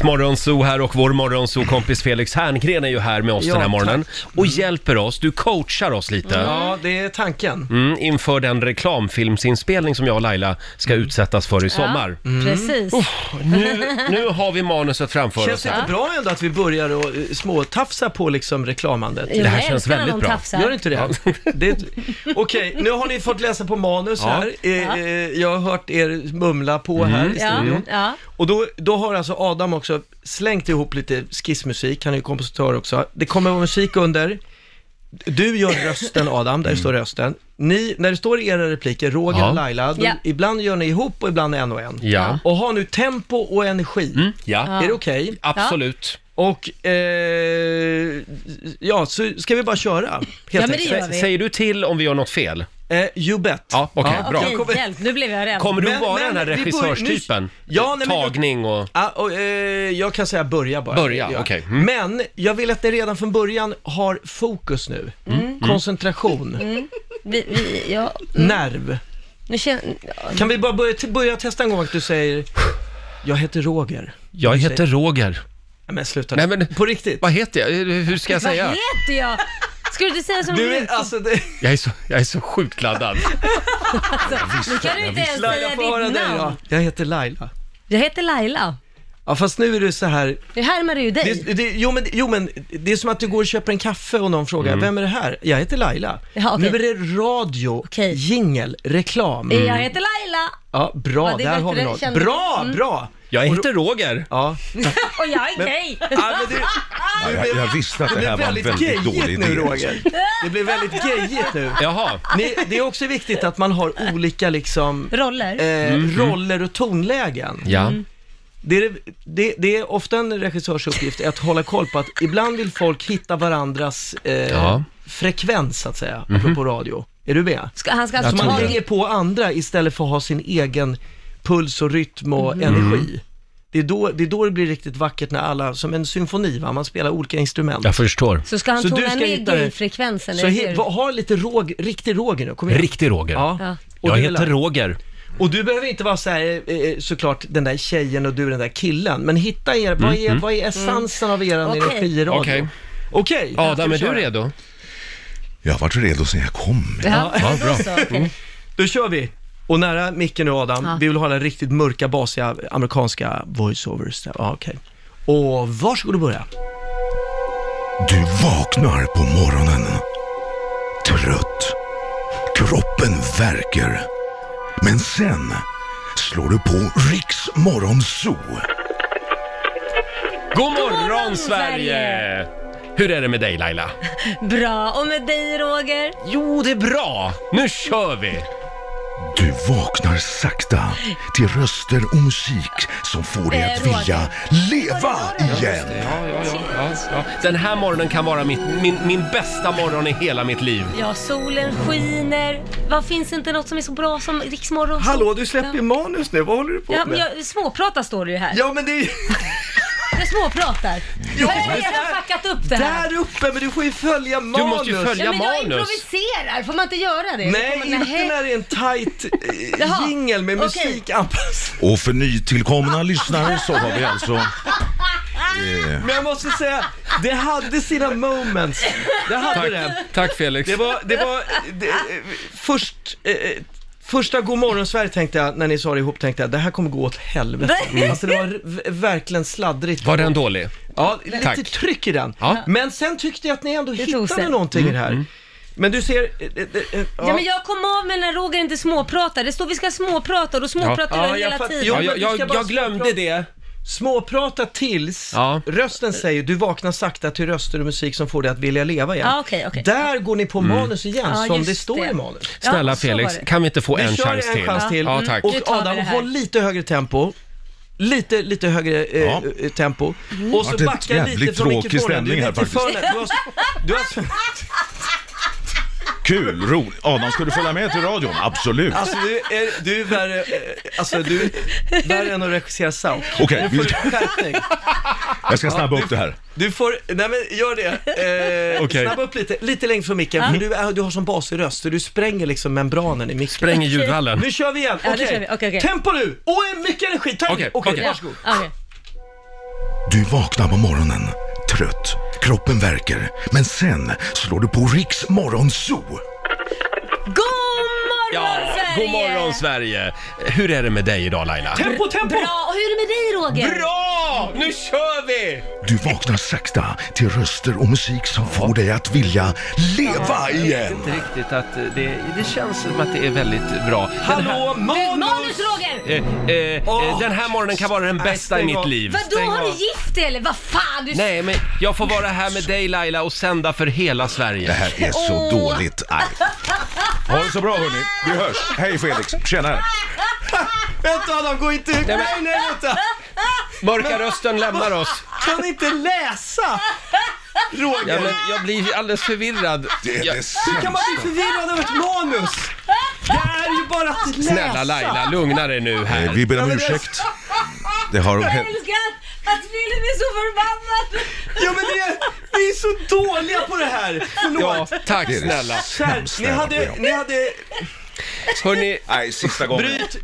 Riksmorgonzoo här och vår morgonzoo-kompis Felix Herngren är ju här med oss Ja, den här morgonen tack. Mm. och hjälper oss, du coachar oss lite Ja, det är tanken. mm, inför den reklamfilmsinspelning som jag och Laila ska utsättas för i sommar. Mm. Precis. Nu, nu har vi manuset framför Känns oss. det inte bra ändå att vi börjar och eh, småtafsa på liksom reklamandet? Jo, Det här jag känns älskar när väldigt någon bra. tafsar. Gör inte det? det Okej, nu har ni fått läsa på manus Ja. Mm. här. Eh, Ja. eh, Jag har hört er mumla på här i Ja, studion. ja. Och då, då har alltså Adam också slängt ihop lite skissmusik, han är ju kompositör också. Det kommer vara musik under. Du gör rösten Adam, där står rösten. Ni, när det står i era repliker, Roger Mm. Ja. och Laila, då, Ja. ibland gör ni ihop och ibland en och en. Ja. Och har nu tempo och energi. Mm, ja, Är det okej? absolut. Och, eh, ja, så ska vi bara köra, helt men det enkelt. gör vi. Säger du till om vi gör något fel? Eh, you bet. Ja, okej, bra. Okej, Jag kommer- hjälp. Nu blev jag rädd. Kommer du Men- vara men den här vi börjar- regissörstypen? nu- Ja, nej, men- Tagning och... Ah, och, eh, jag kan säga börja bara. Börja, Ja. okej. Mm. Men jag vill att ni redan från början har fokus nu. Mm. Koncentration, Vi, vi, ja. nerv. Nu känner... ja. Kan vi bara börja, t- börja testa en gång att du säger Jag heter Roger. Jag heter Roger. Nej, men sluta Nej, men- På riktigt. Vad heter jag? Hur ska jag Vad säga? heter jag? Ska du inte säga som Du du är, alltså, det, Jag är så, jag är så sjukt laddad. Nu kan du inte ens Laila säga får höra ditt dig då. namn. Jag heter Laila. Jag heter Laila. Ja, fast nu är du så här Nu härmar du ju dig. Det, det, jo, men, jo, men det är som att du går och köper en kaffe och någon frågar, Mm. vem är det här? Jag heter Laila. Ja, okej. Nu är det radio, Okej. jingel, reklam. Jag heter Laila. Ja, bra, Ja, det är där har vi bättre, något. kände- Bra, Mm. bra! Jag heter Roger. Ja. Och jag är gay. Ja, men Ah. det, Ja, jag, jag visste att det, det här blev var en väldigt, väldigt dålig idé. gayigt nu, alltså. Roger. Det blev väldigt gayigt nu. Jaha. Ni, det är också viktigt att man har olika liksom, eh, Roller. Mm. roller och tonlägen. Ja. Det är, det, det är ofta en regissörs uppgift att hålla koll på att ibland vill folk hitta varandras eh, Ja. Mhm. frekvens, så att säga, apropå radio. Är du med? Ska, han ska alltså Så man ha hänger på andra istället för att ha sin egen puls och rytm och Mhm. energi. Det är, då, det är då det blir riktigt vackert när alla, som en symfoni va, man spelar olika instrument. Jag förstår. Så ska han Så du tona ska ner hitta det. gayfrekvensen? Så är det he, det? va- ha lite råg, riktig råg nu, kom igen. Riktig Roger. Ja. Ja. Och, Jag du, heter heter... Roger. och du behöver inte vara så här, eh, eh, såklart den där tjejen och du den där killen, men hitta er, vad, är, vad är essensen av er Okej. energi i radio? Mm, Okej. Okej. Okej. Ska Adam, vi är du köra? redo? Jag var redo sen jag kom. Ja, Ja, bra. Så, okej. Då kör vi. Och nära micken nu Adam, Ja. vi vill ha den riktigt mörka, basiga, amerikanska voiceovers. där. Ja, okej. Och varsågod och börja. Du vaknar på morgonen. Trött. Kroppen verkar. Men sen slår du på Riks Morgonzoo. God morgon morgon, Sverige! Hur är det med dig Laila? Bra. Och med dig Roger? Jo, det är bra. Nu kör vi! Du vaknar sakta till röster och musik som får dig att Eh, Roger. vilja leva igen. Ja, ja, ja, ja, ja. Den här morgonen kan vara mitt, min, min bästa morgon i hela mitt liv. Ja, solen skiner. Vad finns inte något som är så bra som riksmorgon? Hallå, du släpper ju manus nu. Vad håller du på Ja, men med? jag, småprata står det ju här. Ja, men det är ju Jag småpratar. jag har redan fuckat upp det här. där uppe, men du får ju följa manus. Du måste ju följa ja, men jag manus. improviserar, får man inte göra det? Får Nej, man, inte när det är en tight Jaha. eh, jingel med Okej. musik anpassad. Och för nytillkomna lyssnare så har vi alltså... Eh, Men jag måste säga, det hade sina moments. Det hade det. Tack, tack Felix. Det var, det var det, eh, först, eh, eh, första God morgon Sverige tänkte jag, när ni sa det ihop, tänkte jag det här kommer gå åt helvete. Alltså det var v- verkligen sladdrigt. Var den dålig? Ja, lite Tack. tryck i den. Ja. Mm, Men sen tyckte jag att ni ändå tog hittade sig. någonting i det här. Men du ser, eh, eh, eh, ja. men jag kom av med när Roger inte småpratar. Det står vi ska småprata och då småpratar Ja. du Ja, jag hela fatt- tiden. Jo, Ja, men jag, vi jag, ska bara jag glömde prata- det. småprata tills Ja. rösten säger du vaknar sakta till röster och musik som får dig att vilja leva igen. Ja, okej, okej. Där går ni på Mm. manus igen Ja, som just det står det. i manus. Ja, Snälla så Felix, var det. kan vi inte få Vi en kör chans en till? chans till. Ja, tack. Mm. Nu Och tar vi Adam, det här. håll lite högre tempo. Lite, lite högre eh, Ja. eh, tempo. Mm. Och så Vart det backa lite jävligt från tråkig mikrofonen. Du stämning är här lite för faktiskt. nä- du har, du har, kul, roligt. Adam, ska du följa med till radion? Absolut. alltså du är, du är värre, eh, alltså du är värre än att regissera South. Okej, Nu får vi- du skärpning. jag ska snabba upp det här. Du får, nej men gör det. Eh, Okej. Snabba upp lite, lite längre från micken, för du, är- du har sån basig röst, så du spränger liksom membranen i micken. Spräng i ljudvallen. Nu kör vi igen, Ja, nu okej. kör vi. Okej, okej. Tempo nu! Och mycket energi, tack! Okej, Okej, okej. varsågod. Okej. Du vaknar på morgonen, trött, kroppen verkar, men sen slår du på Riks morgonzoo. God morgon Ja, Sverige! god morgon Sverige! Hur är det med dig idag Laila? Tempo, tempo! Bra, och hur är det med dig Roger? Bra! Nu kör vi! Du vaknar sakta till röster och musik som får dig att vilja leva igen. Inte riktigt att eh, det, det känns som att det är väldigt bra. Den Hallå, Du, manus! manus Roger! Här, eh, eh, eh, den här morgonen kan vara den bästa i stäng mitt av. liv. Vadå, stäng har du av. gift dig eller? Vad fan? Du... Nej, men jag får vara här med dig Laila och sända för hela Det Sverige. här är så Åh. dåligt. Aj. Ha det så bra hörni. Vi hörs. Hej Felix. Tjena. Vänta Adam, gå inte ut! Nej, nej, vänta! Mörka rösten lämnar oss. Kan inte läsa! Ja, Roger! men jag blir alldeles förvirrad. Det är Jag- det Hur kan man sämsta. bli förvirrad över ett manus? Det är ju bara att läsa! Snälla Laila, lugna dig nu Eh, här. Vi ber om Ja, men det- ursäkt. Det har Jag hänt. älskar att- att Filip är så förbannad! Ja men det är, vi är så dåliga på det här! Ja, Förlåt! tack Det är det snälla. Kär, sämsta ni jag hade, varit med om. ni hade Hörni, Nej, sista gången. bryt,